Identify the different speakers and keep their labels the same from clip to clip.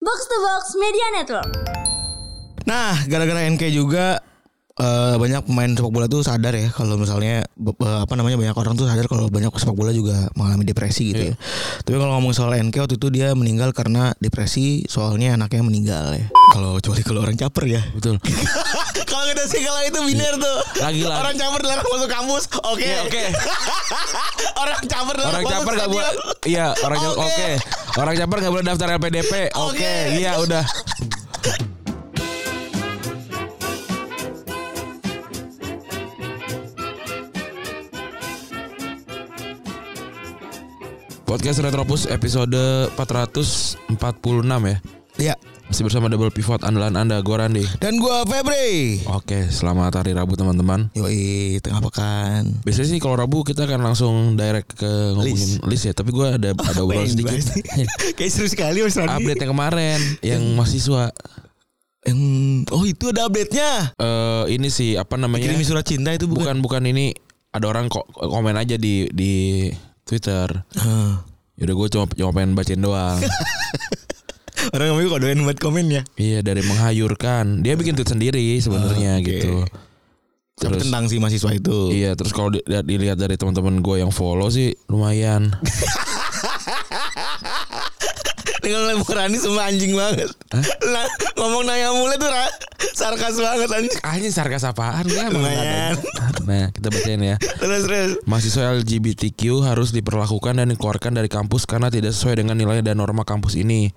Speaker 1: Box to Box Media Network.
Speaker 2: Nah, gara-gara NK juga eh, banyak pemain sepak bola tuh sadar ya kalau misalnya be- be- apa namanya banyak orang tuh sadar kalau banyak sepak bola juga mengalami depresi
Speaker 3: Iya.
Speaker 2: gitu ya. Tapi kalau ngomong soal NK waktu itu dia meninggal karena depresi soalnya anaknya meninggal ya. Kalau kecuali kalau orang caper ya.
Speaker 3: Betul.
Speaker 2: kalau kita sih kalau itu biner tuh.
Speaker 3: Lagi-lagi.
Speaker 2: Orang caper dilarang masuk kampus. Oke.
Speaker 3: Iya, oke.
Speaker 2: orang caper dilarang
Speaker 3: Orang
Speaker 2: masuk
Speaker 3: caper nggak boleh.
Speaker 2: stadion.
Speaker 3: Iya, orang caper.
Speaker 2: Oke.
Speaker 3: Oke. Orang caper nggak boleh daftar LPDP. Oke.
Speaker 2: Oke.
Speaker 3: Iya, udah. Podcast Retropus episode 446 ya.
Speaker 2: Iya.
Speaker 3: Masih bersama Double Pivot andalan Anda, gue Randy.
Speaker 2: Dan gua Febri.
Speaker 3: Oke, selamat hari Rabu teman-teman.
Speaker 2: Yoi, tengah pekan.
Speaker 3: Biasanya sih kalau Rabu kita akan langsung direct ke ngomongin list, ya, tapi gue ada ada obrolan
Speaker 2: Pengen
Speaker 3: sedikit.
Speaker 2: dibahas nih. Kayak seru sekali Mas Rani.
Speaker 3: update yang kemarin yang mahasiswa
Speaker 2: Yang oh itu ada update-nya.
Speaker 3: eh ini sih apa namanya?
Speaker 2: Kirimi surat cinta itu Iya. bukan.
Speaker 3: bukan bukan ini ada orang kok komen aja di di Twitter.
Speaker 2: Heeh.
Speaker 3: Yaudah gue cuma cuma pengen bacain doang.
Speaker 2: Orang ngomongnya kok doain buat komen ya.
Speaker 3: iya dari menghayurkan. Dia bikin tweet sendiri sebenarnya
Speaker 2: Oke.
Speaker 3: gitu.
Speaker 2: Tapi
Speaker 3: Terus-
Speaker 2: tentang si mahasiswa itu.
Speaker 3: Iya terus kalau di- lihat- dilihat dari teman-teman gue yang follow sih lumayan.
Speaker 2: Dengan Lembu Rani semua anjing banget. Lah, ngomong nanya mulai tuh Ra. sarkas banget anjing.
Speaker 3: Anjing sarkas apaan Gua emang
Speaker 2: Lumayan.
Speaker 3: ada. Nah kita bacain ya.
Speaker 2: Terus terus.
Speaker 3: Mahasiswa LGBTQ harus diperlakukan dan dikeluarkan dari kampus karena tidak sesuai dengan nilai dan norma kampus ini.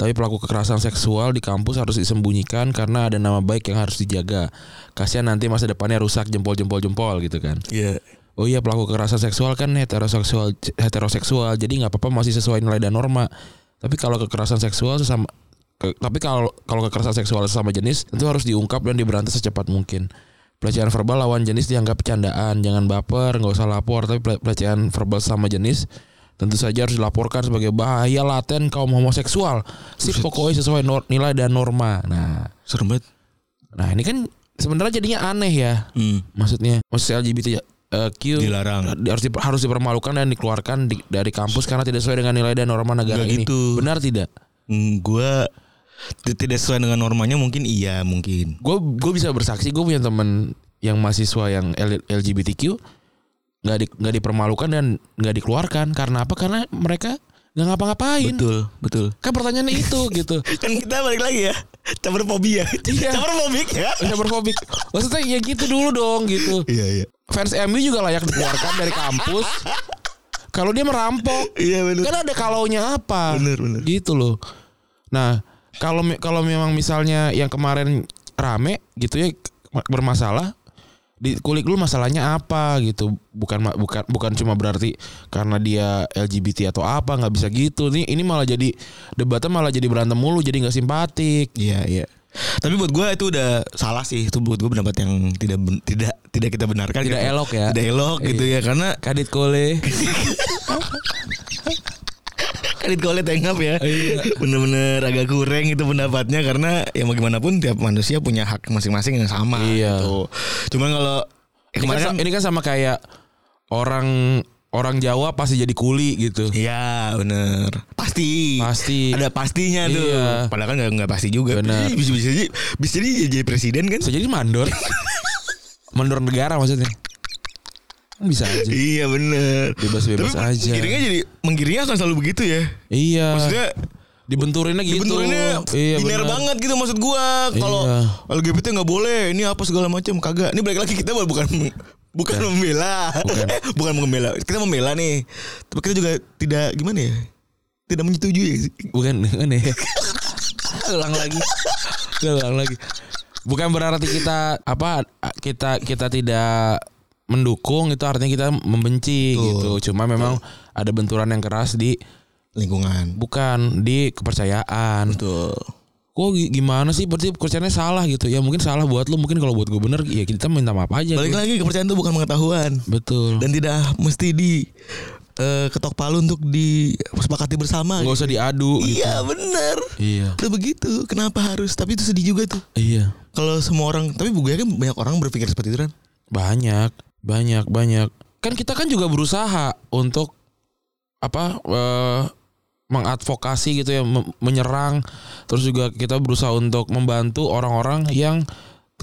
Speaker 3: Tapi pelaku kekerasan seksual di kampus harus disembunyikan karena ada nama baik yang harus dijaga. Kasihan nanti masa depannya rusak jempol-jempol-jempol gitu kan.
Speaker 2: Iya.
Speaker 3: Oh iya pelaku kekerasan seksual kan heteroseksual heteroseksual jadi nggak apa-apa masih sesuai nilai dan norma. Tapi kalau kekerasan seksual sesama ke- tapi kalau kalau kekerasan seksual sesama jenis itu harus diungkap dan diberantas secepat mungkin. Pelecehan verbal lawan jenis dianggap candaan, jangan baper, nggak usah lapor. Tapi pele- pelecehan verbal sama jenis tentu saja harus dilaporkan sebagai bahaya laten kaum homoseksual. Sip pokoknya sesuai nor- nilai dan norma. Nah,
Speaker 2: Serem banget.
Speaker 3: nah ini kan sebenarnya jadinya aneh ya
Speaker 2: Hmm.
Speaker 3: maksudnya maksud LGBT eh, Q
Speaker 2: Dilarang.
Speaker 3: di- harus diper- harus dipermalukan dan dikeluarkan di- dari kampus karena tidak sesuai dengan nilai dan norma negara
Speaker 2: Nggak
Speaker 3: ini.
Speaker 2: gitu.
Speaker 3: Benar tidak?
Speaker 2: Hmm, gua t- tidak sesuai dengan normanya mungkin iya mungkin.
Speaker 3: Gue gue bisa bersaksi gue punya temen yang mahasiswa yang L- LGBTQ nggak di, nggak dipermalukan dan nggak dikeluarkan karena apa? Karena mereka nggak ngapa-ngapain.
Speaker 2: Betul, betul.
Speaker 3: Kan pertanyaannya itu gitu.
Speaker 2: Kan kita balik lagi ya. Caper fobia.
Speaker 3: Iya.
Speaker 2: Caper fobik ya.
Speaker 3: Cyberfobik. Maksudnya ya gitu dulu dong gitu.
Speaker 2: Iya, iya.
Speaker 3: Fans MU juga layak dikeluarkan dari kampus. Kalau dia merampok,
Speaker 2: Iya benar.
Speaker 3: Kan ada kalaunya apa?
Speaker 2: Bener, bener.
Speaker 3: Gitu loh. Nah, kalau me- kalau memang misalnya yang kemarin rame gitu ya ma- bermasalah di kulik lu masalahnya apa gitu bukan ma- bukan bukan cuma berarti karena dia LGBT atau apa nggak bisa gitu nih ini malah jadi debatnya malah jadi berantem mulu jadi nggak simpatik
Speaker 2: Iya iya. Tapi buat gue itu udah salah sih. Itu buat gue pendapat yang tidak ben- tidak tidak kita benarkan.
Speaker 3: Tidak
Speaker 2: gitu.
Speaker 3: elok ya.
Speaker 2: Tidak elok gitu ya karena
Speaker 3: kadit kole
Speaker 2: kredit golet tengap ya.
Speaker 3: Iya.
Speaker 2: Bener-bener agak kurang itu pendapatnya karena ya mau gimana pun tiap manusia punya hak masing-masing yang sama.
Speaker 3: Iya.
Speaker 2: Gitu. Cuman kalau ya
Speaker 3: ini kan,
Speaker 2: kemarin kan,
Speaker 3: sa- ini kan sama kayak orang orang Jawa pasti jadi kuli gitu
Speaker 2: Iya bener Pasti
Speaker 3: Pasti.
Speaker 2: Ada pastinya tuh
Speaker 3: Iya.
Speaker 2: Padahal kan gak, nggak pasti juga
Speaker 3: Bener.
Speaker 2: Bisa, bisa, jadi- bisa jadi jadi presiden kan
Speaker 3: bisa jadi mandor mandor negara maksudnya Kan bisa aja
Speaker 2: Iya bener
Speaker 3: Bebas-bebas
Speaker 2: Tapi
Speaker 3: aja.
Speaker 2: Menggiringnya jadi Menggiringnya akan selalu begitu ya
Speaker 3: iya
Speaker 2: Maksudnya
Speaker 3: dibenturinnya gitu
Speaker 2: Dibenturinnya
Speaker 3: iya,
Speaker 2: biner
Speaker 3: benar.
Speaker 2: banget gitu maksud gua Kalau
Speaker 3: Iya.
Speaker 2: LGBT nggak boleh Ini apa segala macam Kagak Ini balik lagi kita bukan Bukan membela
Speaker 3: Iya. Bukan.
Speaker 2: Eh, bukan membela Kita membela nih Tapi kita juga tidak Gimana ya Tidak menyetujui ya sih?
Speaker 3: bukan bukan ya ulang lagi ulang lagi bukan berarti kita apa kita kita tidak mendukung itu artinya kita membenci gitu cuma memang ada benturan yang keras di
Speaker 2: Lingkungan
Speaker 3: bukan di kepercayaan
Speaker 2: Betul
Speaker 3: kok gi- gimana sih berarti kepercayaannya salah gitu ya mungkin salah buat lu mungkin kalau buat gue bener ya kita minta maaf aja
Speaker 2: Balik
Speaker 3: gitu.
Speaker 2: lagi kepercayaan itu bukan pengetahuan
Speaker 3: betul
Speaker 2: Dan tidak mesti di eh, Ketok palu untuk disepakati bersama
Speaker 3: nggak usah diadu gitu.
Speaker 2: Iya bener
Speaker 3: Iya.
Speaker 2: Udah begitu Kenapa harus Tapi itu sedih juga tuh
Speaker 3: Iya.
Speaker 2: Kalau semua orang Tapi gue yakin banyak orang berpikir seperti itu kan
Speaker 3: Banyak, banyak, banyak. Kan kita kan juga berusaha untuk apa eh, mengadvokasi gitu ya mem- menyerang terus juga kita berusaha untuk membantu orang-orang yang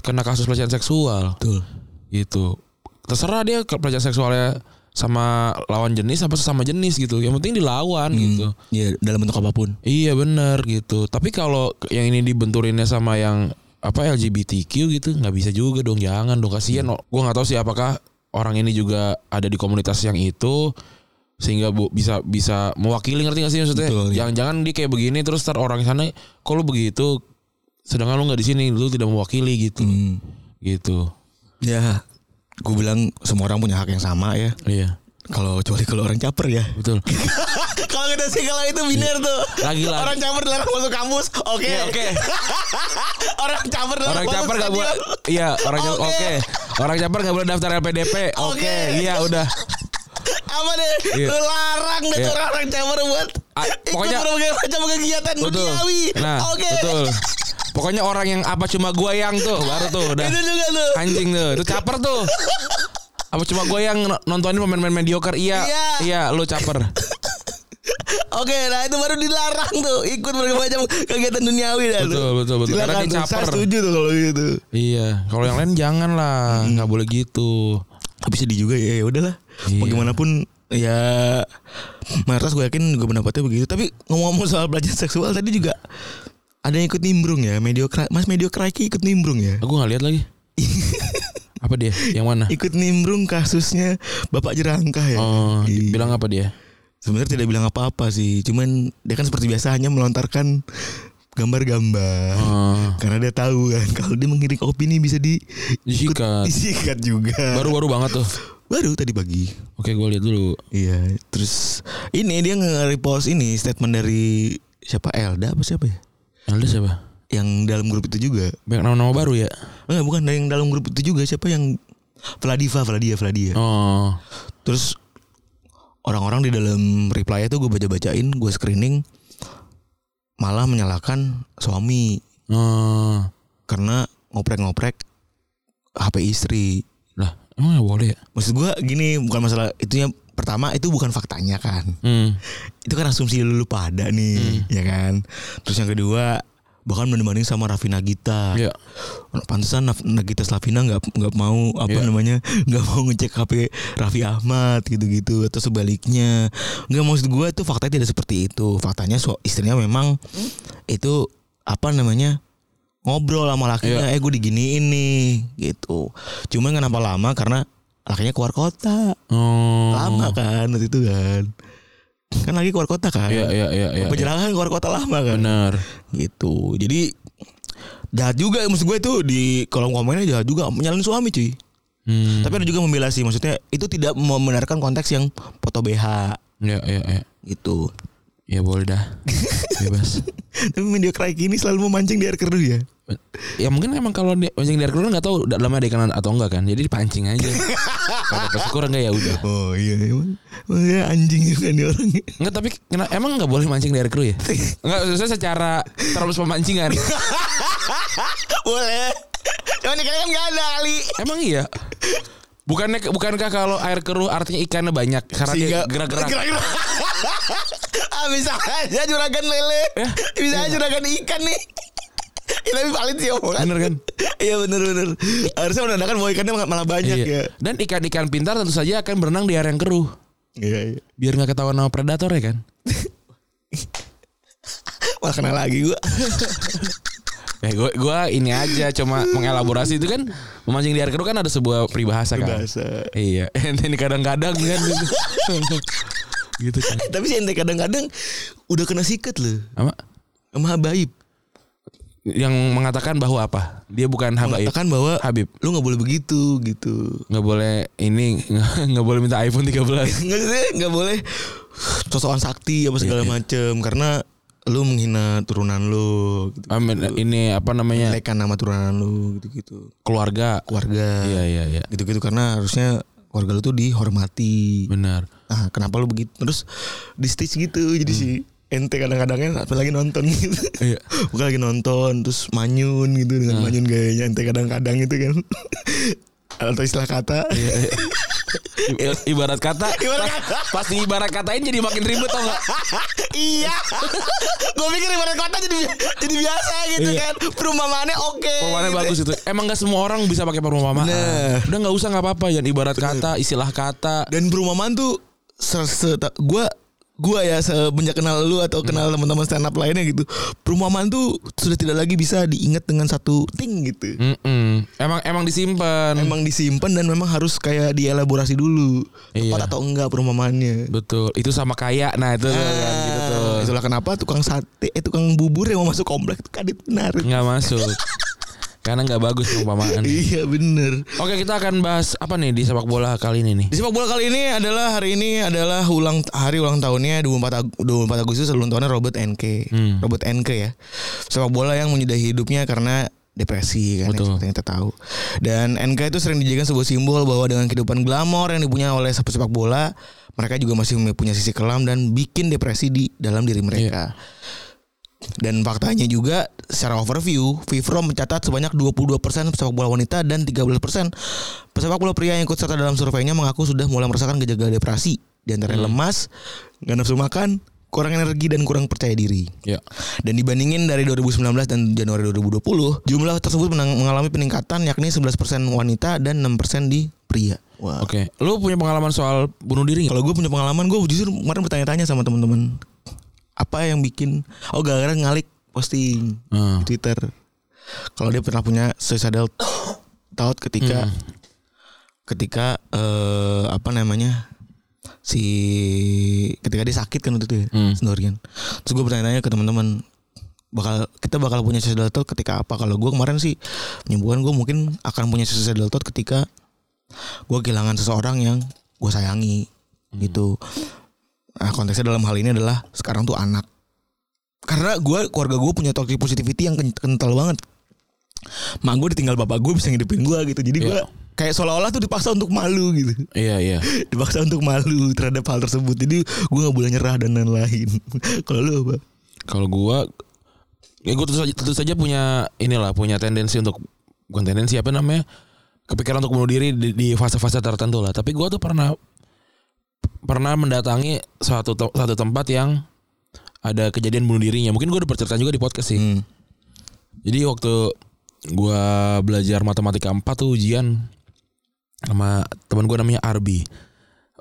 Speaker 3: kena kasus pelecehan seksual
Speaker 2: Betul.
Speaker 3: gitu terserah dia ke pelecehan seksualnya sama lawan jenis apa sesama jenis gitu yang penting dilawan gitu
Speaker 2: Iya, dalam bentuk apapun.
Speaker 3: iya bener gitu tapi kalau yang ini dibenturinnya sama yang apa LGBTQ gitu nggak bisa juga dong jangan dong kasihan
Speaker 2: Hmm.
Speaker 3: gue nggak tahu sih apakah orang ini juga ada di komunitas yang itu sehingga bu, bisa bisa mewakili ngerti gak sih maksudnya
Speaker 2: Betul, iya.
Speaker 3: jangan-jangan dia kayak begini terus ntar orang sana kalau begitu sedangkan lu nggak di sini lu tidak mewakili gitu
Speaker 2: Hmm.
Speaker 3: gitu
Speaker 2: Ya, gue bilang semua orang punya hak yang sama ya.
Speaker 3: iya
Speaker 2: Kalau kecuali kalau orang caper ya.
Speaker 3: betul
Speaker 2: kalau kita sih kalau itu biner tuh.
Speaker 3: Lagi-lagi.
Speaker 2: Orang caper dilarang masuk kampus. Oke.
Speaker 3: Iya, oke.
Speaker 2: orang caper dilarang
Speaker 3: Orang
Speaker 2: masuk
Speaker 3: caper gak boleh
Speaker 2: stadion.
Speaker 3: Iya orang caper
Speaker 2: Oke.
Speaker 3: Oke Orang caper gak boleh daftar LPDP Oke
Speaker 2: Oke.
Speaker 3: Iya udah
Speaker 2: Apa deh?
Speaker 3: Iya.
Speaker 2: Lu larang deh
Speaker 3: Iya.
Speaker 2: tuh orang-orang caper buat
Speaker 3: Ah,
Speaker 2: pokoknya
Speaker 3: pokoknya-
Speaker 2: ikut berbagai macam kegiatan
Speaker 3: Betul
Speaker 2: duniawi.
Speaker 3: Nah
Speaker 2: Oke.
Speaker 3: betul Pokoknya orang yang apa cuma gua yang tuh Baru tuh udah
Speaker 2: Itu juga tuh.
Speaker 3: Anjing tuh Itu caper tuh Apa cuma gua yang no- nontonin pemain-pemain mediocre Iya
Speaker 2: Iya.
Speaker 3: Iya lu caper
Speaker 2: Oke, nah itu baru dilarang tuh ikut berbagai macam kegiatan duniawi dah lu.
Speaker 3: Betul, betul, betul.
Speaker 2: Silakan
Speaker 3: Karena dia
Speaker 2: tuh, saya
Speaker 3: caper.
Speaker 2: setuju tuh kalau gitu.
Speaker 3: Iya Kalau yang lain jangan lah Gak boleh gitu
Speaker 2: tapi sedih juga ya ya udahlah
Speaker 3: Iya.
Speaker 2: bagaimanapun ya mayoritas gue yakin gue pendapatnya begitu tapi ngomong-ngomong soal pelecehan seksual tadi juga ada yang ikut nimbrung ya mediokra mas mediokraki ikut nimbrung ya
Speaker 3: Aku gak Eh, lihat lagi Apa dia Yang mana
Speaker 2: ikut nimbrung kasusnya bapak jerangkah ya
Speaker 3: Oh
Speaker 2: Iya.
Speaker 3: Bilang apa dia
Speaker 2: sebenarnya tidak bilang apa-apa sih cuman dia kan seperti biasa hanya melontarkan gambar-gambar
Speaker 3: Oh.
Speaker 2: karena dia tahu kan kalau dia menggiring opini bisa di ikut-
Speaker 3: Disikat.
Speaker 2: disikat juga
Speaker 3: Baru-baru banget tuh
Speaker 2: baru tadi pagi
Speaker 3: Oke gue lihat dulu
Speaker 2: Iya, terus ini dia nge-repost ini statement dari siapa Elda apa siapa ya?
Speaker 3: Alda siapa?
Speaker 2: Yang dalam grup itu juga.
Speaker 3: Banyak nama-nama baru ya?
Speaker 2: Enggak, bukan dari yang dalam grup itu juga siapa yang Vladiva, Vladia, Vladia.
Speaker 3: Oh.
Speaker 2: Terus orang-orang di dalam reply itu gue baca-bacain, gue screening malah menyalahkan suami
Speaker 3: Oh.
Speaker 2: karena ngoprek-ngoprek HP istri.
Speaker 3: Lah, emang gak boleh ya?
Speaker 2: Maksud gue gini bukan masalah itunya pertama itu bukan faktanya kan.
Speaker 3: Hmm.
Speaker 2: itu kan asumsi lu pada nih ya kan terus yang kedua bahkan mendemanding sama Raffi Nagita
Speaker 3: Iya.
Speaker 2: pantesan Naf- Nagita Slavina nggak nggak mau apa
Speaker 3: Iya.
Speaker 2: namanya nggak mau ngecek HP Raffi Ahmad gitu-gitu atau sebaliknya nggak maksud gue itu faktanya tidak seperti itu faktanya su- istrinya memang itu apa namanya ngobrol sama lakinya eh gue diginiin nih gitu cuman kenapa lama karena lakinya keluar kota
Speaker 3: Oh.
Speaker 2: lama kan waktu itu kan kan lagi keluar kota kan
Speaker 3: Iya, iya, iya, iya. iya.
Speaker 2: penjelangan keluar kota lama kan
Speaker 3: Benar.
Speaker 2: gitu jadi jahat juga maksud gue itu di kolom komennya jahat juga menyalin suami cuy
Speaker 3: Hmm.
Speaker 2: tapi ada juga membela sih maksudnya itu tidak membenarkan konteks yang foto BH
Speaker 3: Iya, iya, iya.
Speaker 2: gitu
Speaker 3: Ya boleh dah. Bebas.
Speaker 2: tapi media crack ini selalu memancing di air keruh ya
Speaker 3: Ya mungkin emang kalau dia pancing dari keluar nggak tahu dalamnya ada kanan atau enggak kan. Jadi dipancing aja. Kalau pas kurang enggak ya udah.
Speaker 2: oh iya emang Maksudnya anjing juga nih orangnya
Speaker 3: Enggak tapi kena, emang enggak boleh mancing dari kru ya? Enggak, maksudnya secara terlalu pemancingan.
Speaker 2: boleh cuman di kan gak ada kali
Speaker 3: Emang iya. Bukannya bukankah kalau air keruh artinya ikannya banyak karena dia gerak-gerak.
Speaker 2: gerak-gerak. ah, bisa aja juragan lele.
Speaker 3: Ya.
Speaker 2: Bisa aja juragan ikan nih. Ya, tapi valid sih omongan.
Speaker 3: Bener kan?
Speaker 2: Iya bener bener. Harusnya menandakan bahwa ikannya malah banyak
Speaker 3: Iya. Dan ikan-ikan pintar tentu saja akan berenang di air yang keruh.
Speaker 2: ya. Iya iya.
Speaker 3: Biar nggak ketahuan sama predator ya kan?
Speaker 2: Malah kena lagi gua.
Speaker 3: Ya gue gua ini aja cuma mengelaborasi itu kan memancing di air keruh kan ada sebuah peribahasa kan.
Speaker 2: Bahasa.
Speaker 3: Iya. Ini kadang-kadang kan gitu. gitu kan.
Speaker 2: Tapi sih ente kadang-kadang udah kena sikat loh
Speaker 3: Apa?
Speaker 2: sama Habaib.
Speaker 3: Yang mengatakan bahwa apa? Dia bukan habaib.
Speaker 2: Mengatakan bahwa
Speaker 3: Habib.
Speaker 2: lu nggak boleh begitu gitu.
Speaker 3: Nggak boleh ini nggak boleh minta iPhone 13.
Speaker 2: Nggak sih, nggak boleh sosokan sakti apa
Speaker 3: Iya.
Speaker 2: segala macem karena lu menghina turunan lu gitu.
Speaker 3: Amin. Ini apa namanya?
Speaker 2: Lekan nama turunan lu gitu-gitu.
Speaker 3: Keluarga.
Speaker 2: Keluarga.
Speaker 3: Iya iya iya.
Speaker 2: Gitu-gitu karena harusnya keluarga lu tuh dihormati.
Speaker 3: Benar.
Speaker 2: Nah, kenapa lu begitu? Terus di stage gitu. Jadi si ente kadang-kadangnya apalagi nonton gitu.
Speaker 3: Hmm. Iya. Nah.
Speaker 2: Bukan lagi nonton terus manyun gitu
Speaker 3: Iya.
Speaker 2: dengan manyun gayanya ente kadang-kadang gitu kan. Atau istilah kata.
Speaker 3: I- ibarat kata
Speaker 2: Ibarat kata.
Speaker 3: pasti ibarat katain jadi makin ribet tau gak
Speaker 2: iya. gue pikir ibarat kota jadi jadi biasa gitu
Speaker 3: Iya.
Speaker 2: kan. Perumpamannya oke.
Speaker 3: Perumpamannya
Speaker 2: gitu.
Speaker 3: Oh, bagus itu Emang gak semua orang bisa pakai perumpamaan
Speaker 2: Bener.
Speaker 3: Udah gak usah gak apa-apa Yang ibarat kata Istilah kata
Speaker 2: Dan perumpamaan tuh ser se- ta- gua gua ya semenjak kenal lu atau kenal teman-teman stand up lainnya gitu. Perumpamaan tuh sudah tidak lagi bisa diingat dengan satu thing
Speaker 3: Hmm.
Speaker 2: gitu.
Speaker 3: Mm-mm. Emang emang disimpan
Speaker 2: Memang disimpan dan memang harus kayak dielaborasi dulu.
Speaker 3: Iya.
Speaker 2: Tepat atau enggak perumpamannya.
Speaker 3: Betul Itu sama kaya Nah itu tuh kan gitu tuh
Speaker 2: Ah, Itulah kenapa tukang sate eh tukang bubur yang mau masuk komplek itu kadit menarik.
Speaker 3: Gak masuk Karena gak bagus perumpamaan
Speaker 2: Iya bener
Speaker 3: Oke kita akan bahas Apa nih di sepak bola kali ini nih
Speaker 2: Di sepak bola kali ini adalah hari ini adalah ulang hari ulang tahunnya 24 Ag- 24 Agustus ulang tahunnya Robert NK.
Speaker 3: Hmm.
Speaker 2: Robert NK ya. Sepak bola yang menyudahi hidupnya karena depresi kan
Speaker 3: Betul.
Speaker 2: yang seperti yang kita tahu. Dan NK itu sering dijadikan sebuah simbol bahwa dengan kehidupan glamor yang dipunya oleh sepak bola, mereka juga masih punya sisi kelam dan bikin depresi di dalam diri mereka. Dan faktanya juga secara overview, FIFA mencatat sebanyak 22% pesepak bola wanita dan 13% pesepak bola pria yang ikut serta dalam surveinya mengaku sudah mulai merasakan gejala depresi, di antara lemas, nggak nafsu makan, kurang energi dan kurang percaya diri.
Speaker 3: Ya
Speaker 2: Dan dibandingin dari 2019 dan Januari 2020, jumlah tersebut menang- mengalami peningkatan yakni 11% wanita dan 6% di pria. Wah.
Speaker 3: Oke Lu punya pengalaman soal bunuh diri nggak?
Speaker 2: Kalau gue punya pengalaman, gue justru kemarin bertanya-tanya sama teman-teman apa yang bikin oh gara-gara ngalik posting
Speaker 3: Hmm.
Speaker 2: di Twitter. Kalau dia pernah punya suicidal thought ketika
Speaker 3: Hmm.
Speaker 2: ketika eh, apa namanya si ketika dia sakit kan waktu itu ya,
Speaker 3: Hmm.
Speaker 2: sendirian. Terus gue bertanya-tanya ke teman-teman bakal kita bakal punya suicidal thought ketika apa? Kalau gue kemarin sih penyembuhan gue mungkin akan punya suicidal thought ketika gue kehilangan seseorang yang gue sayangi gitu. Nah, konteksnya dalam hal ini adalah sekarang tuh anak. Karena gue keluarga gue punya toxic positivity yang ken- kental banget. Mak gue ditinggal bapak gue bisa ngidupin gue gitu. Jadi gue
Speaker 3: Iya.
Speaker 2: kayak seolah-olah tuh dipaksa untuk malu gitu.
Speaker 3: Iya iya
Speaker 2: Dipaksa untuk malu terhadap hal tersebut. Jadi gue gak boleh nyerah dan lain-lain. Kalau lu apa?
Speaker 3: Kalau gua ya gua tentu saja, tentu saja punya inilah punya tendensi untuk bukan tendensi apa namanya kepikiran untuk bunuh diri di, di fase-fase tertentu lah. Tapi gua tuh pernah pernah mendatangi suatu te- satu tempat yang ada kejadian bunuh dirinya. Mungkin gua udah bercerita juga di podcast sih.
Speaker 2: Hmm.
Speaker 3: Jadi waktu gua belajar matematika 4 tuh ujian sama teman gua namanya Arbi.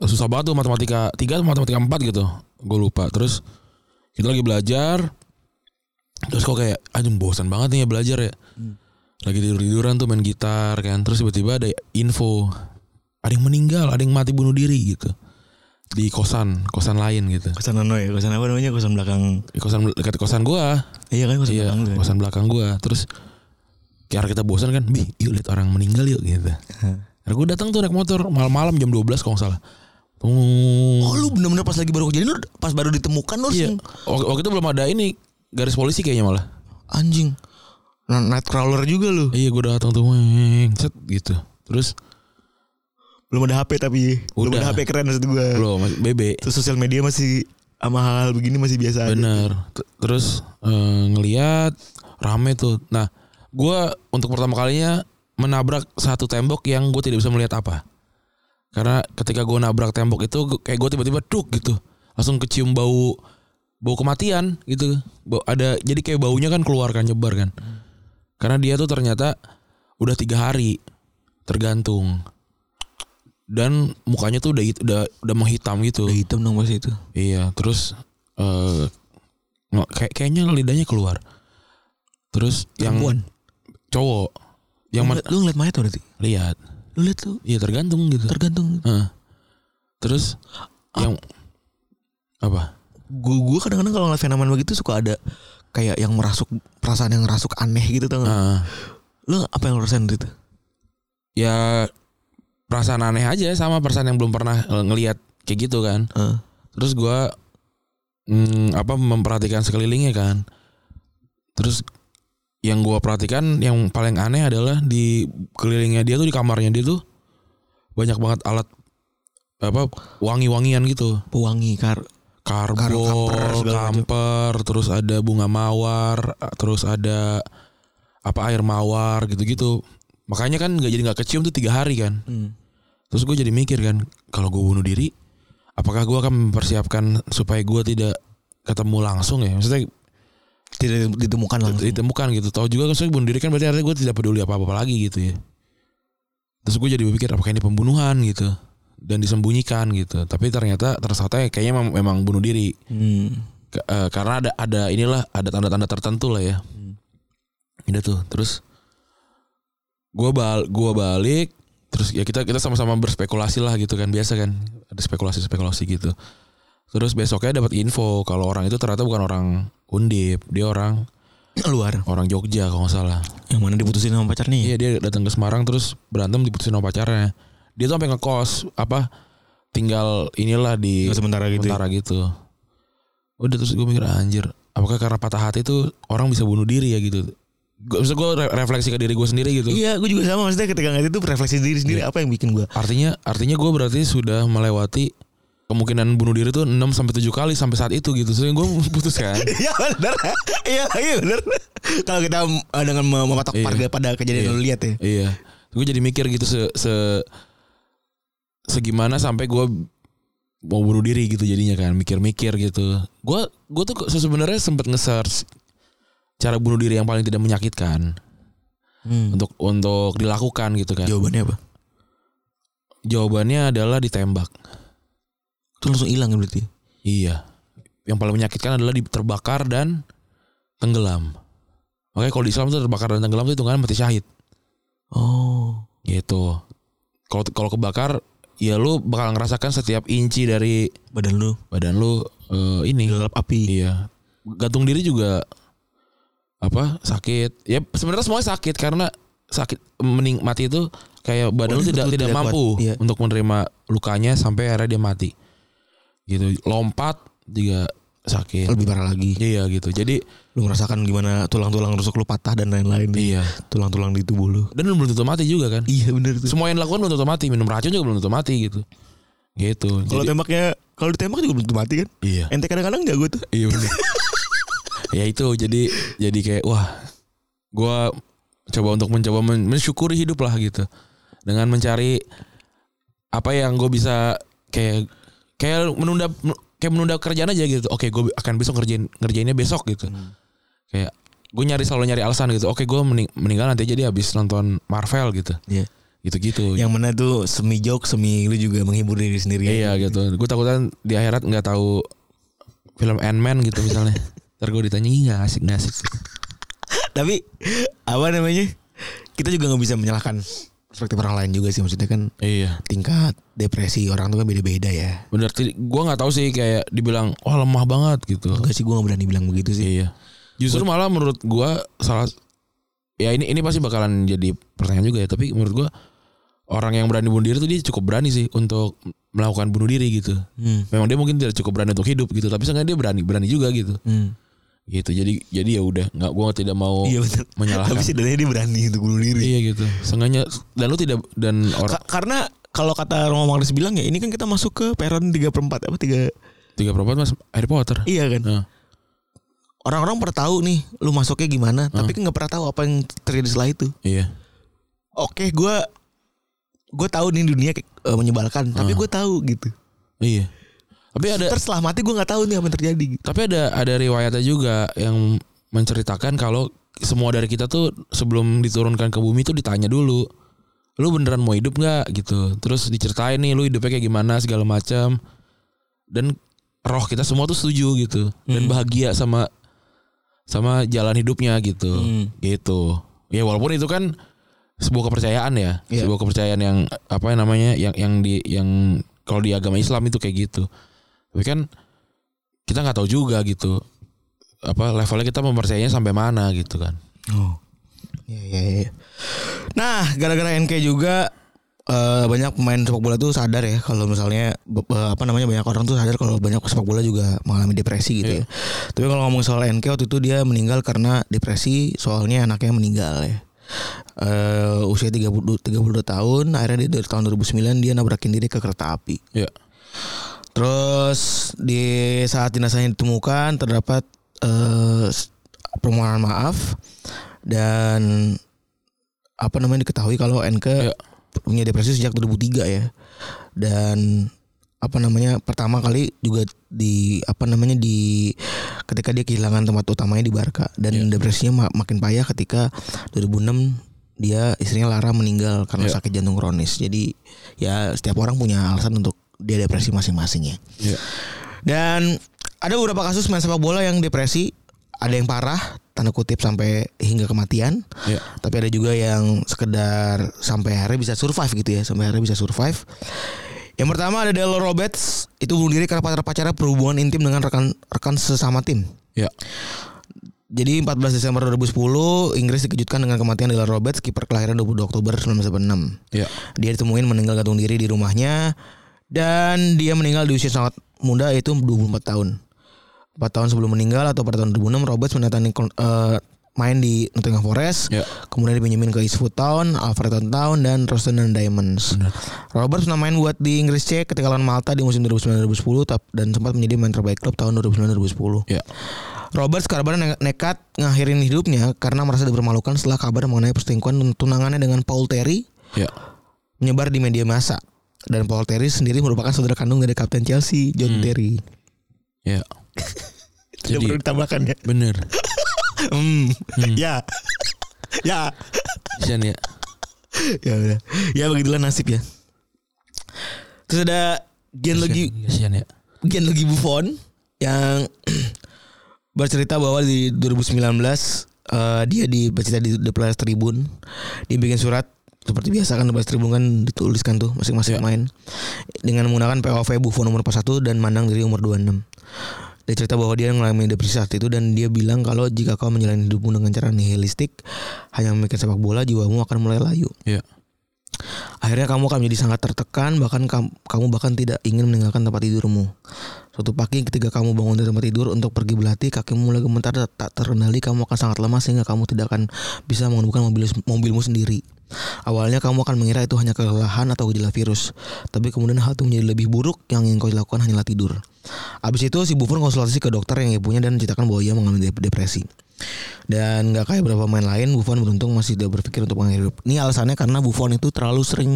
Speaker 3: Susah banget tuh matematika 3 atau matematika 4 gitu. Gue lupa. Terus kita lagi belajar terus kok kayak aduh bosan banget nih ya belajar ya. Lagi tidur-tiduran tuh main gitar kan. Terus tiba-tiba ada info ada yang meninggal, ada yang mati bunuh diri gitu. Di kosan, kosan lain gitu.
Speaker 2: Kosan Nono ya? Kosan apa namanya? Kosan belakang.
Speaker 3: Di kosan dekat kosan gua.
Speaker 2: Iya kan kosan
Speaker 3: Iya,
Speaker 2: belakang. tuh.
Speaker 3: kosan belakang gua. Terus karena kita bosan kan, bih, yuk lihat orang meninggal yuk gitu. Nah, gue datang tuh naik motor malam-malam jam 12 kalau nggak salah. Tung.
Speaker 2: Oh lu bener-bener pas lagi baru kejadian lu pas baru ditemukan lu
Speaker 3: iya.
Speaker 2: langsung-
Speaker 3: Wak- Waktu itu belum ada ini garis polisi kayaknya malah.
Speaker 2: anjing. Night Nightcrawler juga lu.
Speaker 3: Iya, gue datang tuh, weng, set gitu. Terus
Speaker 2: Belum ada HP tapi belum
Speaker 3: Udah.
Speaker 2: ada HP keren maksud gua.
Speaker 3: belum masih bebe.
Speaker 2: Terus sosial media masih sama hal-hal begini masih biasa aja.
Speaker 3: Bener. T- Iya, Terus eh, ngeliat rame tuh. Nah, gua untuk pertama kalinya menabrak satu tembok yang gue tidak bisa melihat apa. Karena ketika gue nabrak tembok itu gu- kayak gue tiba-tiba duk gitu, langsung kecium bau bau kematian gitu. Bau, ada jadi kayak baunya kan keluar kan nyebar kan. Karena dia tuh ternyata udah tiga hari tergantung dan mukanya tuh udah hit- udah udah menghitam gitu.
Speaker 2: hitam dong pas itu.
Speaker 3: Iya, terus eh nggak- kayak kayaknya lidahnya keluar. Terus yang
Speaker 2: Perempuan.
Speaker 3: cowok yang
Speaker 2: Yang
Speaker 3: men-
Speaker 2: lu ngeliat mayat tuh berarti.
Speaker 3: lihat,
Speaker 2: Lu lihat tuh
Speaker 3: iya tergantung gitu.
Speaker 2: tergantung.
Speaker 3: Heeh. Terus yang apa?
Speaker 2: Gue gua kadang-kadang kalau ngeliat fenomen begitu suka ada kayak yang merasuk perasaan yang merasuk aneh gitu tau nggak?
Speaker 3: Heeh.
Speaker 2: Lu apa yang lu rasain itu?
Speaker 3: ya perasaan aneh aja sama perasaan yang belum pernah eh, ngelihat kayak gitu kan.
Speaker 2: Heeh.
Speaker 3: Terus gua mm, apa memperhatikan sekelilingnya kan. Terus yang gua perhatikan yang paling aneh adalah di kelilingnya dia tuh di kamarnya dia tuh banyak banget alat apa wangi-wangian gitu.
Speaker 2: Pewangi kar Kar-
Speaker 3: Karbol, kamper,
Speaker 2: kamper, segala macam.
Speaker 3: terus ada bunga mawar, terus ada
Speaker 2: Hmm.
Speaker 3: apa air mawar gitu-gitu. Makanya kan nggak jadi nggak kecium tuh tiga hari kan. Terus gue jadi mikir kan, kalau gue bunuh diri, apakah gue akan mempersiapkan supaya gue tidak ketemu langsung ya? Maksudnya
Speaker 2: Tidak ditemukan langsung.
Speaker 3: ditemukan gitu. Tahu juga kan saya bunuh diri kan berarti artinya gue tidak peduli apa-apa lagi gitu ya. Terus gue jadi berpikir apakah ini pembunuhan gitu dan disembunyikan gitu. Tapi ternyata tersangka kayaknya mem- memang bunuh diri
Speaker 2: Hmm.
Speaker 3: Ke- eh, karena ada ada inilah ada tanda-tanda tertentu lah ya.
Speaker 2: Hmm.
Speaker 3: Udah tuh terus gue bal gua balik terus ya kita kita sama-sama berspekulasi lah gitu kan biasa kan ada spekulasi spekulasi gitu terus besoknya dapat info kalau orang itu ternyata bukan orang undip dia orang
Speaker 2: Luar.
Speaker 3: orang Jogja kalau nggak salah.
Speaker 2: Yang mana diputusin sama pacarnya? ya?
Speaker 3: Iya dia datang ke Semarang terus berantem diputusin sama pacarnya. Dia tuh sampai ngekos apa tinggal inilah di
Speaker 2: Tinggal sementara gitu ya?
Speaker 3: Sementara gitu. Udah terus gue mikir anjir, apakah karena patah hati tuh orang bisa bunuh diri ya gitu. Gue maksud gue re- refleksi ke diri gue sendiri gitu.
Speaker 2: Iya, gue juga sama maksudnya ketika ngeliat itu refleksi diri sendiri
Speaker 3: Iya.
Speaker 2: apa yang bikin gue
Speaker 3: Artinya artinya gue berarti sudah melewati kemungkinan bunuh diri tuh 6 sampai 7 kali sampai saat itu gitu. Soalnya gue putus kan.
Speaker 2: Iya benar. Iya iya benar. Kalau kita eh, dengan mem- mematok
Speaker 3: Iya.
Speaker 2: pada pada kejadian
Speaker 3: Iya.
Speaker 2: yang lu lihat ya.
Speaker 3: Iya. Gue jadi mikir gitu se, se segimana sampai gue mau bunuh diri gitu jadinya kan mikir-mikir gitu. Gue gue tuh se- sebenarnya sempat nge-search cara bunuh diri yang paling tidak menyakitkan
Speaker 2: Hmm.
Speaker 3: untuk untuk dilakukan gitu kan.
Speaker 2: Jawabannya apa?
Speaker 3: Jawabannya adalah ditembak.
Speaker 2: Itu langsung hilang ya berarti.
Speaker 3: Iya. Yang paling menyakitkan adalah diterbakar dan tenggelam. Makanya kalau di Islam tuh terbakar dan tenggelam itu hitungannya mati syahid.
Speaker 2: Oh.
Speaker 3: gitu kalau kalau kebakar ya lu bakal ngerasakan setiap inci dari
Speaker 2: Badan lu
Speaker 3: badan lu eh, ini
Speaker 2: dilalap api.
Speaker 3: iya gantung diri juga apa sakit ya sebenarnya semuanya sakit karena sakit mening mati itu kayak badan lu
Speaker 2: Badan
Speaker 3: tidak
Speaker 2: Oh, betul
Speaker 3: tidak
Speaker 2: tidak
Speaker 3: mampu
Speaker 2: kuat, iya.
Speaker 3: untuk menerima lukanya sampai akhirnya dia mati gitu lompat juga sakit
Speaker 2: Lebih parah lagi.
Speaker 3: iya gitu jadi
Speaker 2: Lu merasakan gimana tulang-tulang rusuk lu patah dan lain-lain.
Speaker 3: iya
Speaker 2: Tulang-tulang di tubuh lu.
Speaker 3: dan lu belum tentu mati juga kan
Speaker 2: Iya benar tuh.
Speaker 3: semua yang dilakukan belum tentu mati minum racun juga belum tentu mati gitu gitu
Speaker 2: Kalau
Speaker 3: Jadi-
Speaker 2: tembaknya kalau ditembak juga belum tentu mati kan?
Speaker 3: iya
Speaker 2: Ente kadang-kadang jago tuh.
Speaker 3: Iya bener. ya itu jadi jadi kayak wah gua coba untuk mencoba men- mensyukuri hidup lah gitu dengan mencari apa yang gue bisa kayak kayak menunda kayak menunda kerjaan aja gitu. Oke, gue akan besok ngerjain ngerjainnya besok gitu. Kayak gue nyari selalu nyari alasan gitu. Oke, gue meninggal nanti jadi habis nonton Marvel gitu.
Speaker 2: Iya.
Speaker 3: Gitu-gitu.
Speaker 2: Yang mana tuh semi joke, semi lu juga menghibur diri sendiri.
Speaker 3: Iya gitu. Gue takutan di akhirat nggak tahu film Ant-Man gitu misalnya. Ntar gue ditanya "Ih, nggak asik nggak asik.
Speaker 2: Tapi apa namanya? Kita juga nggak bisa menyalahkan perspektif orang lain juga sih maksudnya kan
Speaker 3: Iya.
Speaker 2: tingkat depresi orang tuh kan beda-beda ya.
Speaker 3: Bener. ti- Gua nggak tahu sih kayak dibilang oh lemah banget gitu.
Speaker 2: Enggak sih gue gak berani bilang begitu sih.
Speaker 3: Iya. Justru malah menurut gua salah ya ini ini pasti bakalan jadi pertanyaan juga ya. Tapi menurut gua orang yang berani bunuh diri tuh dia cukup berani sih untuk melakukan bunuh diri gitu.
Speaker 2: Hmm.
Speaker 3: Memang dia mungkin tidak cukup berani untuk hidup gitu, tapi seenggaknya dia berani berani juga gitu.
Speaker 2: Hmm.
Speaker 3: Gitu. Jadi jadi ya udah nggak gua tidak mau
Speaker 2: Iya betul.
Speaker 3: Oh, menyalahkan.
Speaker 2: Tapi setidaknya dia berani untuk bunuh diri.
Speaker 3: Iya gitu. Sengaja dan lu tidak dan orang
Speaker 2: Ka- karena kalau kata Romo Mangris bilang ya ini kan kita masuk ke peron 3 per 4 apa 3
Speaker 3: tiga perempat mas Harry Potter.
Speaker 2: iya kan.
Speaker 3: Nah,
Speaker 2: Orang-orang pernah tahu nih lu masuknya gimana tapi kan nggak pernah tahu apa yang terjadi setelah itu.
Speaker 3: iya.
Speaker 2: Oke gue gue tahu nih dunia kayak, eh, menyebalkan tapi gue tahu gitu.
Speaker 3: Iya. Tapi ada
Speaker 2: Terus setelah mati gue nggak tahu nih apa yang terjadi. gitu.
Speaker 3: tapi ada ada riwayatnya juga yang menceritakan kalau semua dari kita tuh sebelum diturunkan ke bumi tuh ditanya dulu. Lu beneran mau hidup nggak gitu. Terus diceritain nih lu hidupnya kayak gimana segala macam. Dan roh kita semua tuh setuju gitu dan bahagia sama sama jalan hidupnya gitu.
Speaker 2: Hmm.
Speaker 3: Gitu. Ya walaupun itu kan sebuah kepercayaan ya,
Speaker 2: Iya.
Speaker 3: sebuah kepercayaan yang apa yang namanya yang yang di yang kalau di agama Islam itu kayak gitu. Tapi kan kita nggak tahu juga gitu apa levelnya kita mempercayainya sampai mana gitu kan.
Speaker 2: Oh. Iya iya iya. Nah, gara-gara NK juga eh, banyak pemain sepak bola tuh sadar ya kalau misalnya be- be- apa namanya banyak orang tuh sadar kalau banyak sepak bola juga mengalami depresi gitu ya. Tapi kalau ngomong soal NK waktu itu dia meninggal karena depresi soalnya anaknya meninggal ya. Eh usia 30 32 tahun akhirnya dia dari tahun 2009 dia nabrakin diri ke kereta api.
Speaker 3: Ya.
Speaker 2: Terus di saat jenazahnya ditemukan terdapat eh, s- permohonan maaf dan apa namanya diketahui kalau Enke
Speaker 3: Ya.
Speaker 2: punya depresi sejak 2003 ya. Dan apa namanya pertama kali juga di apa namanya di ketika dia kehilangan tempat utamanya di Barca dan depresinya ma- makin payah ketika 2006 dia istrinya Lara meninggal karena
Speaker 3: Iya.
Speaker 2: sakit jantung kronis. Jadi ya setiap orang punya alasan untuk dia depresi masing-masing ya.
Speaker 3: Iya.
Speaker 2: Dan ada beberapa kasus main sepak bola yang depresi, ada yang parah tanda kutip sampai hingga kematian.
Speaker 3: Iya.
Speaker 2: Tapi ada juga yang sekedar sampai akhirnya bisa survive gitu ya, sampai akhirnya bisa survive. Yang pertama ada Delo Roberts, itu bunuh diri karena pacar pacarnya perhubungan intim dengan rekan rekan sesama tim.
Speaker 3: Iya.
Speaker 2: Jadi 14 Desember 2010 Inggris dikejutkan dengan kematian Delo Roberts kiper kelahiran 22 Oktober 1996.
Speaker 3: Iya.
Speaker 2: Dia ditemuin meninggal gantung diri di rumahnya dan dia meninggal di usia sangat muda yaitu 24 tahun. 4 tahun sebelum meninggal atau pada tahun 2006 Roberts mendatangi kon- eh, main di Nottingham Forest.
Speaker 3: Iya.
Speaker 2: Kemudian dipinjemin ke Eastwood Town, Alfreton Town dan Royston and Diamonds.
Speaker 3: Benar.
Speaker 2: Roberts pernah main buat di Inggris C ketika lawan Malta di musim 2009-2010 tap- dan sempat menjadi main terbaik klub tahun 2009-2010.
Speaker 3: Iya.
Speaker 2: Roberts kabarnya ne- nekat ngakhirin hidupnya karena merasa dipermalukan setelah kabar mengenai perselingkuhan tunangannya dengan Paul Terry
Speaker 3: Iya.
Speaker 2: menyebar di media massa dan Paul Terry sendiri merupakan saudara kandung dari kapten Chelsea John Terry.
Speaker 3: Iya.
Speaker 2: Tidak
Speaker 3: Jadi-
Speaker 2: perlu ditambahkan ya.
Speaker 3: Bener.
Speaker 2: Hmm. Ya. ya.
Speaker 3: Sian ya.
Speaker 2: Ya udah. Ya begitulah nasib ya. Terus ada genealogi
Speaker 3: Sian ya.
Speaker 2: genealogi Buffon yang bercerita bahwa di 2019 eh, dia di bercerita di The Players Tribune dia bikin surat seperti biasa kan The Players Tribune kan dituliskan tuh masing-masing
Speaker 3: Iya.
Speaker 2: pemain dengan menggunakan POV Buffon nomor 41 dan Mandang diri umur 26 dia cerita bahwa dia mengalami depresi saat itu dan dia bilang kalau jika kau menjalani hidupmu dengan cara nihilistik hanya memikirkan sepak bola jiwamu akan mulai layu
Speaker 3: Iya.
Speaker 2: Akhirnya kamu akan menjadi sangat tertekan bahkan kam- kamu bahkan tidak ingin meninggalkan tempat tidurmu. Suatu pagi ketika kamu bangun dari tempat tidur untuk pergi berlatih kakimu mulai gemetar dan tak terkendali kamu akan sangat lemah sehingga kamu tidak akan bisa mengemudikan mobil mobilmu sendiri. Awalnya kamu akan mengira itu hanya kelelahan atau gejala virus, tapi kemudian hal itu menjadi lebih buruk yang ingin kau lakukan hanyalah tidur. Abis itu si Buffon konsultasi ke dokter yang ibunya dan ceritakan bahwa ia mengalami dep- depresi. Dan nggak kayak beberapa pemain lain, Buffon beruntung masih tidak berpikir untuk mengakhiri hidup. Ini alasannya karena Buffon itu terlalu sering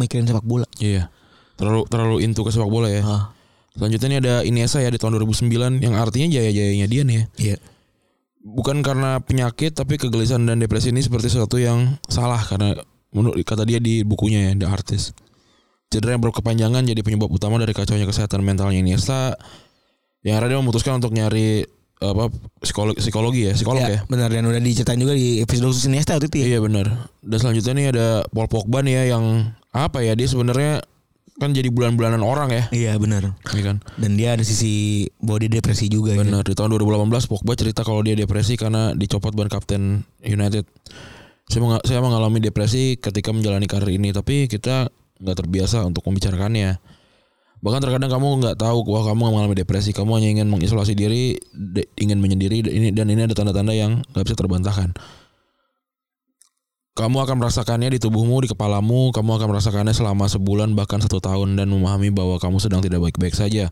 Speaker 2: mikirin sepak bola.
Speaker 3: Iya. Terlalu terlalu into ke sepak bola ya.
Speaker 2: Ah,
Speaker 3: Selanjutnya ini ada Iniesta ya di tahun 2009 yang artinya jaya-jayanya dia nih ya.
Speaker 2: iya.
Speaker 3: Bukan karena penyakit tapi kegelisahan dan depresi ini seperti sesuatu yang salah karena menurut kata dia di bukunya ya The Artist. Cedera yang berkepanjangan jadi penyebab utama dari kacaunya kesehatan mentalnya Iniesta. Yang akhirnya dia memutuskan untuk nyari apa psikologi psikologi ya psikolog ya.
Speaker 2: Iya, Benar dan udah diceritain juga di episode khusus Iniesta waktu itu ya.
Speaker 3: Iya benar. Dan selanjutnya nih ada Paul Pogba nih ya yang apa ya dia sebenarnya kan jadi bulan-bulanan orang ya,
Speaker 2: Iya benar.
Speaker 3: Iya kan.
Speaker 2: Dan dia ada sisi body depresi juga. ya.
Speaker 3: Benar. Di tahun 2018 Pogba cerita kalau dia depresi karena dicopot ban kapten United. Saya, menga- saya mengalami depresi ketika menjalani karir ini, tapi kita nggak terbiasa untuk membicarakannya. Bahkan terkadang kamu nggak tahu bahwa kamu mengalami depresi, kamu hanya ingin mengisolasi diri, de- ingin menyendiri, dan ini dan ini ada tanda-tanda yang nggak bisa terbantahkan. Kamu akan merasakannya di tubuhmu, di kepalamu, kamu akan merasakannya selama sebulan bahkan satu tahun dan memahami bahwa kamu sedang tidak baik-baik saja.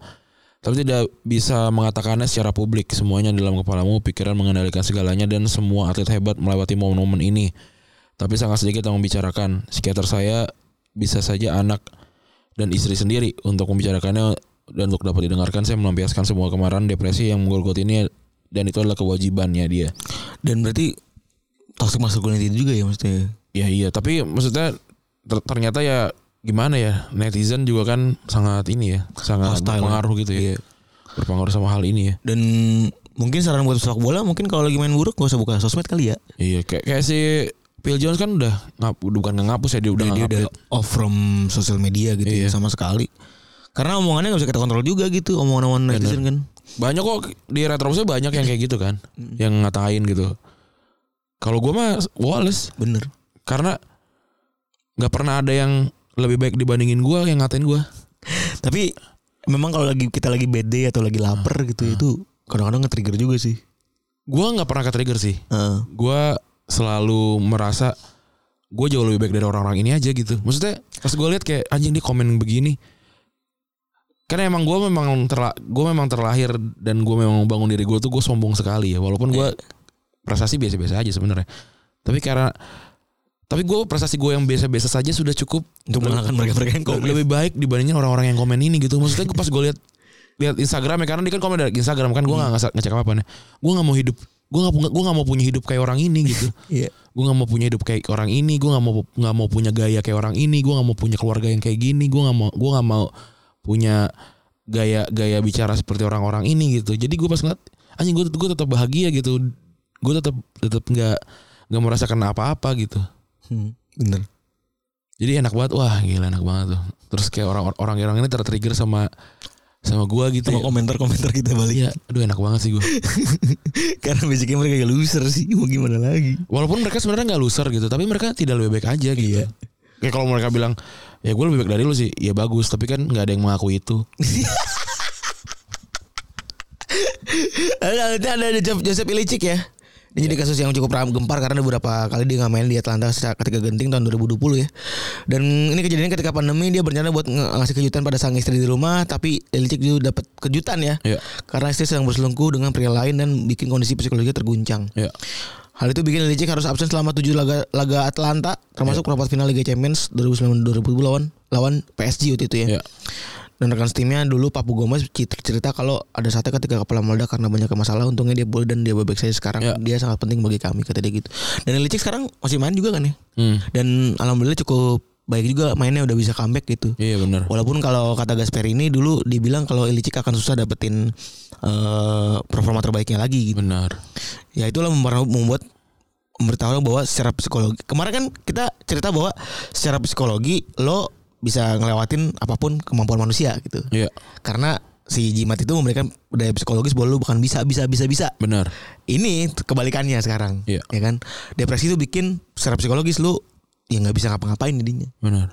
Speaker 3: Tapi tidak bisa mengatakannya secara publik. Semuanya dalam kepalamu, pikiran mengendalikan segalanya dan semua atlet hebat melewati momen-momen ini. Tapi sangat sedikit yang membicarakan. Psikiater saya bisa saja anak dan istri sendiri untuk membicarakannya dan untuk dapat didengarkan saya melampiaskan semua kemarahan depresi yang menggolgoti ini dan itu adalah kewajibannya dia.
Speaker 2: Dan berarti toxic masculinity juga ya maksudnya.
Speaker 3: Ya iya, tapi maksudnya ter- ternyata ya gimana ya netizen juga kan sangat ini ya, sangat
Speaker 2: Hostile. Iya.
Speaker 3: berpengaruh gitu ya. Berpengaruh sama hal ini ya.
Speaker 2: Dan mungkin saran buat sepak bola mungkin kalau lagi main buruk gak usah buka sosmed kali ya.
Speaker 3: Iya, kayak kayak si Phil Jones kan udah ngap, udah bukan ngapus ya dia udah
Speaker 2: dia udah
Speaker 3: ngupdate.
Speaker 2: off from social media gitu
Speaker 3: Iya.
Speaker 2: ya sama sekali. Karena omongannya gak bisa kita kontrol juga gitu omongan-omongan netizen kan.
Speaker 3: Banyak kok di retrobusnya banyak yang kayak gitu kan, yang ngatain gitu. Kalau gua mah Wallace
Speaker 2: Bener.
Speaker 3: karena nggak pernah ada yang lebih baik dibandingin gua yang ngatain gua.
Speaker 2: Tapi memang kalau lagi kita lagi bad day atau lagi
Speaker 3: Nah.
Speaker 2: lapar gitu itu kadang-kadang nge-trigger juga sih.
Speaker 3: Gua nggak pernah ke-trigger sih.
Speaker 2: Heeh.
Speaker 3: Gua selalu merasa gue jauh lebih baik dari orang-orang ini aja gitu. Maksudnya pas gue lihat kayak anjing dia komen begini. Karena emang gue memang terla gue memang terlahir dan gue memang bangun diri gue tuh gue
Speaker 2: Iya.
Speaker 3: sombong sekali ya. Walaupun gue prestasi biasa-biasa aja sebenarnya. Tapi karena Tapi gue prestasi gue yang biasa-biasa saja sudah cukup
Speaker 2: Untuk mengalahkan mereka-mereka yang
Speaker 3: lebih,
Speaker 2: komen.
Speaker 3: lebih baik dibandingin orang-orang yang komen ini gitu. Maksudnya gue pas gue lihat lihat Instagram ya karena dia kan komen dari Instagram kan gue nggak ngecek- ngecek apa nih. Gue nggak mau hidup gue nggak pu- gua nggak mau punya hidup kayak orang ini gitu.
Speaker 2: Iya.
Speaker 3: gue nggak mau punya hidup kayak orang ini. Gue nggak mau nggak mau punya gaya kayak orang ini. Gue nggak mau punya keluarga yang kayak gini. Gue nggak mau gue nggak mau punya gaya gaya bicara seperti orang-orang ini gitu. Jadi gue pas ngeliat anjing gue gue tetap bahagia gitu. Gue tetap tetap nggak nggak merasakan apa-apa gitu.
Speaker 2: Hmm, bener.
Speaker 3: Jadi enak banget, wah gila enak banget tuh. Terus kayak orang-orang orang ini tertrigger sama sama gua gitu.
Speaker 2: Sama
Speaker 3: ya.
Speaker 2: komentar-komentar kita balik.
Speaker 3: Iya, aduh enak banget sih gua.
Speaker 2: Karena basicnya mereka kayak loser sih. Mau gimana lagi?
Speaker 3: Walaupun mereka sebenarnya nggak loser gitu, tapi mereka tidak lebih baik aja
Speaker 2: Iya.
Speaker 3: gitu. Ya kalau mereka bilang, ya gue lebih baik dari lu sih, ya bagus. Tapi kan nggak ada yang mengakui itu.
Speaker 2: Ada, ada, ada, ada Jo- Joseph Ilicic ya. Ini jadi kasus yang cukup ram gempar karena beberapa kali dia nggak main di Atlanta secara- ketika genting tahun 2020 ya. Dan ini kejadiannya ketika pandemi dia berencana buat nge- ngasih kejutan pada sang istri di rumah, tapi Ilicic juga dapat kejutan ya.
Speaker 3: Iya.
Speaker 2: Karena istri sedang berselingkuh dengan pria lain dan bikin kondisi psikologinya terguncang.
Speaker 3: Ya,
Speaker 2: Hal itu bikin Ilicic harus absen selama 7 laga laga Atlanta termasuk perempat final Liga Champions 2019-2020 lawan lawan PSG waktu itu ya.
Speaker 3: ya,
Speaker 2: Dan rekan timnya dulu Papu Gomez cit- cerita kalau ada saatnya ketika kepala meledak karena banyak masalah untungnya dia boleh dan dia baik saja sekarang
Speaker 3: Ya.
Speaker 2: dia sangat penting bagi kami kata dia gitu. Dan Ilicic sekarang masih main juga kan ya.
Speaker 3: hmm,
Speaker 2: Dan alhamdulillah cukup baik juga mainnya udah bisa comeback gitu.
Speaker 3: iya benar.
Speaker 2: Walaupun kalau kata Gasperi ini dulu dibilang kalau Ilicic akan susah dapetin eh, performa terbaiknya lagi gitu
Speaker 3: Benar.
Speaker 2: ya itulah memper- membuat memberitahu bahwa secara psikologi kemarin kan kita cerita bahwa secara psikologi lo bisa ngelewatin apapun kemampuan manusia gitu
Speaker 3: Iya,
Speaker 2: karena si jimat itu memberikan daya psikologis bahwa lo bukan bisa bisa bisa bisa
Speaker 3: benar.
Speaker 2: ini kebalikannya sekarang
Speaker 3: Iya.
Speaker 2: ya kan depresi itu bikin secara psikologis lo ya nggak bisa ngapa-ngapain jadinya
Speaker 3: Benar.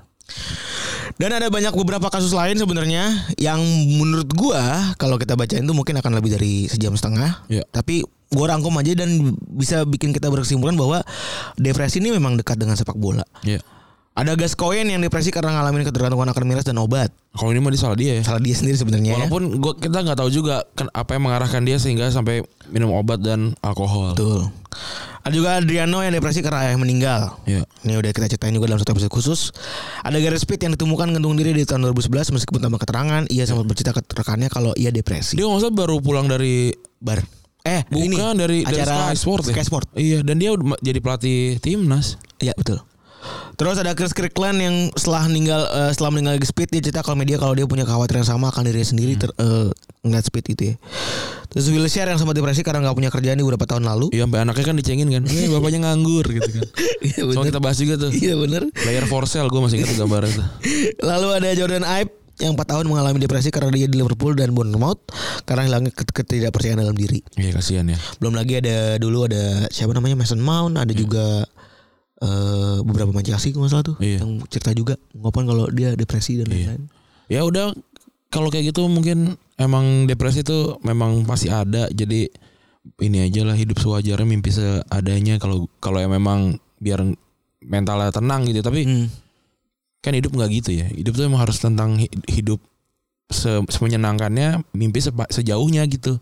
Speaker 2: dan ada banyak beberapa kasus lain sebenarnya yang menurut gua kalau kita bacain tuh mungkin akan lebih dari sejam setengah.
Speaker 3: Iya.
Speaker 2: Tapi gua rangkum aja dan bisa bikin kita berkesimpulan bahwa depresi ini memang dekat dengan sepak bola.
Speaker 3: Iya.
Speaker 2: Ada Gascoigne yang depresi karena ngalamin ketergantungan akan miras dan obat.
Speaker 3: Kalau ini mah dia salah dia ya.
Speaker 2: Salah dia sendiri sebenarnya. ya.
Speaker 3: Walaupun gua kita nggak tahu juga ken- apa yang mengarahkan dia sehingga sampai minum obat dan alkohol.
Speaker 2: Betul. Ada juga Adriano yang depresi karena ayah meninggal.
Speaker 3: Iya.
Speaker 2: Ini udah kita ceritain juga dalam satu episode khusus. Ada Gareth Pitt yang ditemukan ngendung diri di tahun 2011 meskipun tanpa keterangan ia sempat bercerita ke rekannya kalau ia depresi.
Speaker 3: Dia nggak usah baru pulang dari
Speaker 2: Bar. Eh,
Speaker 3: Bukan
Speaker 2: ini
Speaker 3: dari
Speaker 2: acara
Speaker 3: dari Sky Sport ya?
Speaker 2: Sky Sport.
Speaker 3: Iya, dan dia udah ma- jadi pelatih timnas.
Speaker 2: Iya betul. Terus ada Chris Kirkland yang setelah meninggal eh, setelah meninggal di Speed dia cerita kalau media kalau dia punya kekhawatiran yang sama akan dirinya sendiri
Speaker 3: Hmm.
Speaker 2: ter, eh, ngeliat Speed itu ya. Terus Wilshere yang sempat depresi karena nggak punya kerjaan di beberapa tahun lalu.
Speaker 3: Iya, sampai anaknya kan dicengin kan. Eh, bapaknya nganggur gitu kan.
Speaker 2: Iya
Speaker 3: Soalnya kita bahas juga tuh.
Speaker 2: Iya benar.
Speaker 3: Player for sale gue masih ingat tuh gambarnya tuh.
Speaker 2: Lalu ada Jordan Ibe yang 4 tahun mengalami depresi karena dia di Liverpool dan Bournemouth karena hilangnya ket- ketidakpercayaan dalam diri.
Speaker 3: Iya, kasihan ya.
Speaker 2: Belum lagi ada dulu ada siapa namanya Mason Mount, ada
Speaker 3: Hmm.
Speaker 2: juga eh, beberapa pemain Chelsea kalau nggak salah tuh
Speaker 3: Iya.
Speaker 2: yang cerita juga ngopan kalau dia depresi dan lain-lain.
Speaker 3: Ya udah kalau kayak gitu mungkin emang depresi itu memang pasti ada. Jadi ini aja lah hidup sewajarnya mimpi seadanya kalau kalau yang memang biar mentalnya tenang gitu. Tapi
Speaker 2: Hmm.
Speaker 3: kan hidup nggak gitu ya hidup tuh emang harus tentang hi- hidup se- semenyenangkannya mimpi sepa- sejauhnya gitu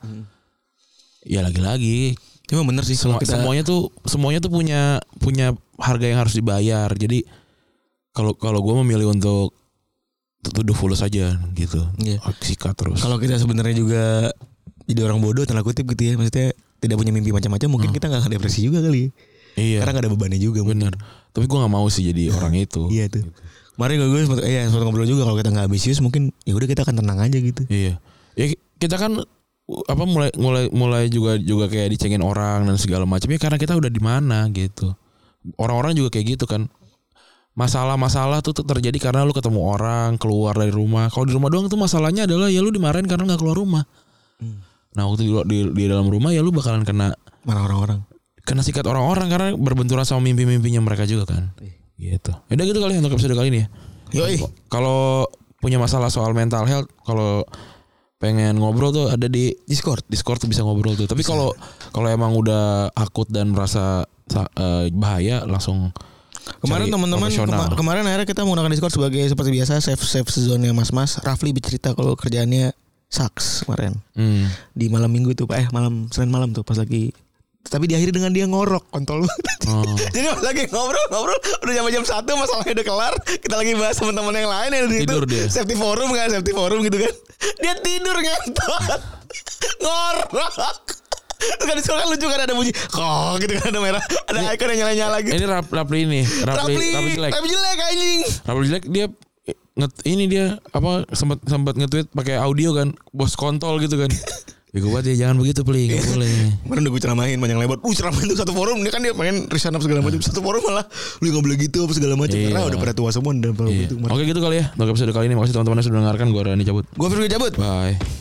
Speaker 3: ya lagi-lagi
Speaker 2: Cuma bener sih
Speaker 3: semua-
Speaker 2: Hmm. kalau kita
Speaker 3: semuanya tuh semuanya tuh punya punya harga yang harus dibayar jadi kalau kalau gue memilih untuk tuduh fulus aja gitu
Speaker 2: Iya.
Speaker 3: sikat terus
Speaker 2: kalau kita sebenarnya juga jadi orang bodoh tanda kutip gitu ya maksudnya tidak punya mimpi macam-macam mungkin kita nggak akan depresi juga kali ya.
Speaker 3: Hmm. iya
Speaker 2: karena nggak ada bebannya juga mungkin.
Speaker 3: bener Gitu. tapi gue nggak mau sih jadi orang itu
Speaker 2: iya tuh kemarin gue gue sempat iya, sempat ngobrol juga kalau kita nggak ambisius mungkin ya udah kita akan tenang aja gitu
Speaker 3: Iya. Ya kita kan uh, apa mulai mulai mulai juga juga kayak dicengin orang dan segala macamnya karena kita udah di mana gitu. Orang-orang juga kayak gitu kan. Masalah-masalah tuh tuh terjadi karena lu ketemu orang, keluar dari rumah. Kalau di rumah doang tuh masalahnya adalah ya lu dimarahin karena nggak keluar rumah. Nah, waktu di, di di dalam rumah ya lu bakalan kena
Speaker 2: marah orang-orang
Speaker 3: kena sikat orang-orang karena berbenturan sama mimpi-mimpinya mereka juga kan. Gitu. Ya Udah gitu kali ya untuk episode kali ini ya.
Speaker 2: Yoi.
Speaker 3: Kalau punya masalah soal mental health, kalau pengen ngobrol tuh ada di
Speaker 2: Discord
Speaker 3: Discord tuh bisa ngobrol tuh. Tapi kalau kalau emang udah akut dan merasa sa- eh, bahaya langsung
Speaker 2: Kemarin
Speaker 3: cari
Speaker 2: teman-teman
Speaker 3: profesional.
Speaker 2: kema- kemarin akhirnya kita menggunakan Discord sebagai seperti biasa safe safe zone-nya mas-mas. Rafli bercerita kalau kerjaannya sucks kemarin
Speaker 3: Hmm.
Speaker 2: di malam minggu tuh pak eh malam senin malam tuh pas lagi tapi diakhiri dengan dia ngorok kontol banget.
Speaker 3: Oh.
Speaker 2: Jadi pas lagi ngobrol ngobrol udah jam jam satu masalahnya udah kelar kita lagi bahas teman-teman yang lain yang di situ.
Speaker 3: Tidur dia.
Speaker 2: safety forum kan safety forum gitu kan dia tidur ngentot ngorok Terus kan disuruh kan lucu kan ada bunyi kok gitu kan ada merah ada icon yang nyala nyala gitu
Speaker 3: Ini rap, rapli ini, rapli, rapli,
Speaker 2: tapi
Speaker 3: Nah, jelek.
Speaker 2: tapi jelek anjing
Speaker 3: Rapli jelek dia eh, nget, ini dia apa sempat sempat nge-tweet pakai audio kan, bos kontol gitu kan. Bego banget ya jangan begitu pli, nggak boleh.
Speaker 2: Kemarin udah gue ceramahin panjang lebar. Uh ceramahin tuh satu forum. Dia kan dia pengen resign up segala macam. Satu forum malah lu nggak boleh gitu apa segala macam.
Speaker 3: Nah. Iya.
Speaker 2: Karena udah pada tua semua dan pada
Speaker 3: Iya.
Speaker 2: gitu.
Speaker 3: Oke gitu kali ya. Untuk episode kali ini makasih teman-teman yang sudah mendengarkan. Gue Rani cabut.
Speaker 2: Gue Firman cabut.
Speaker 3: Bye.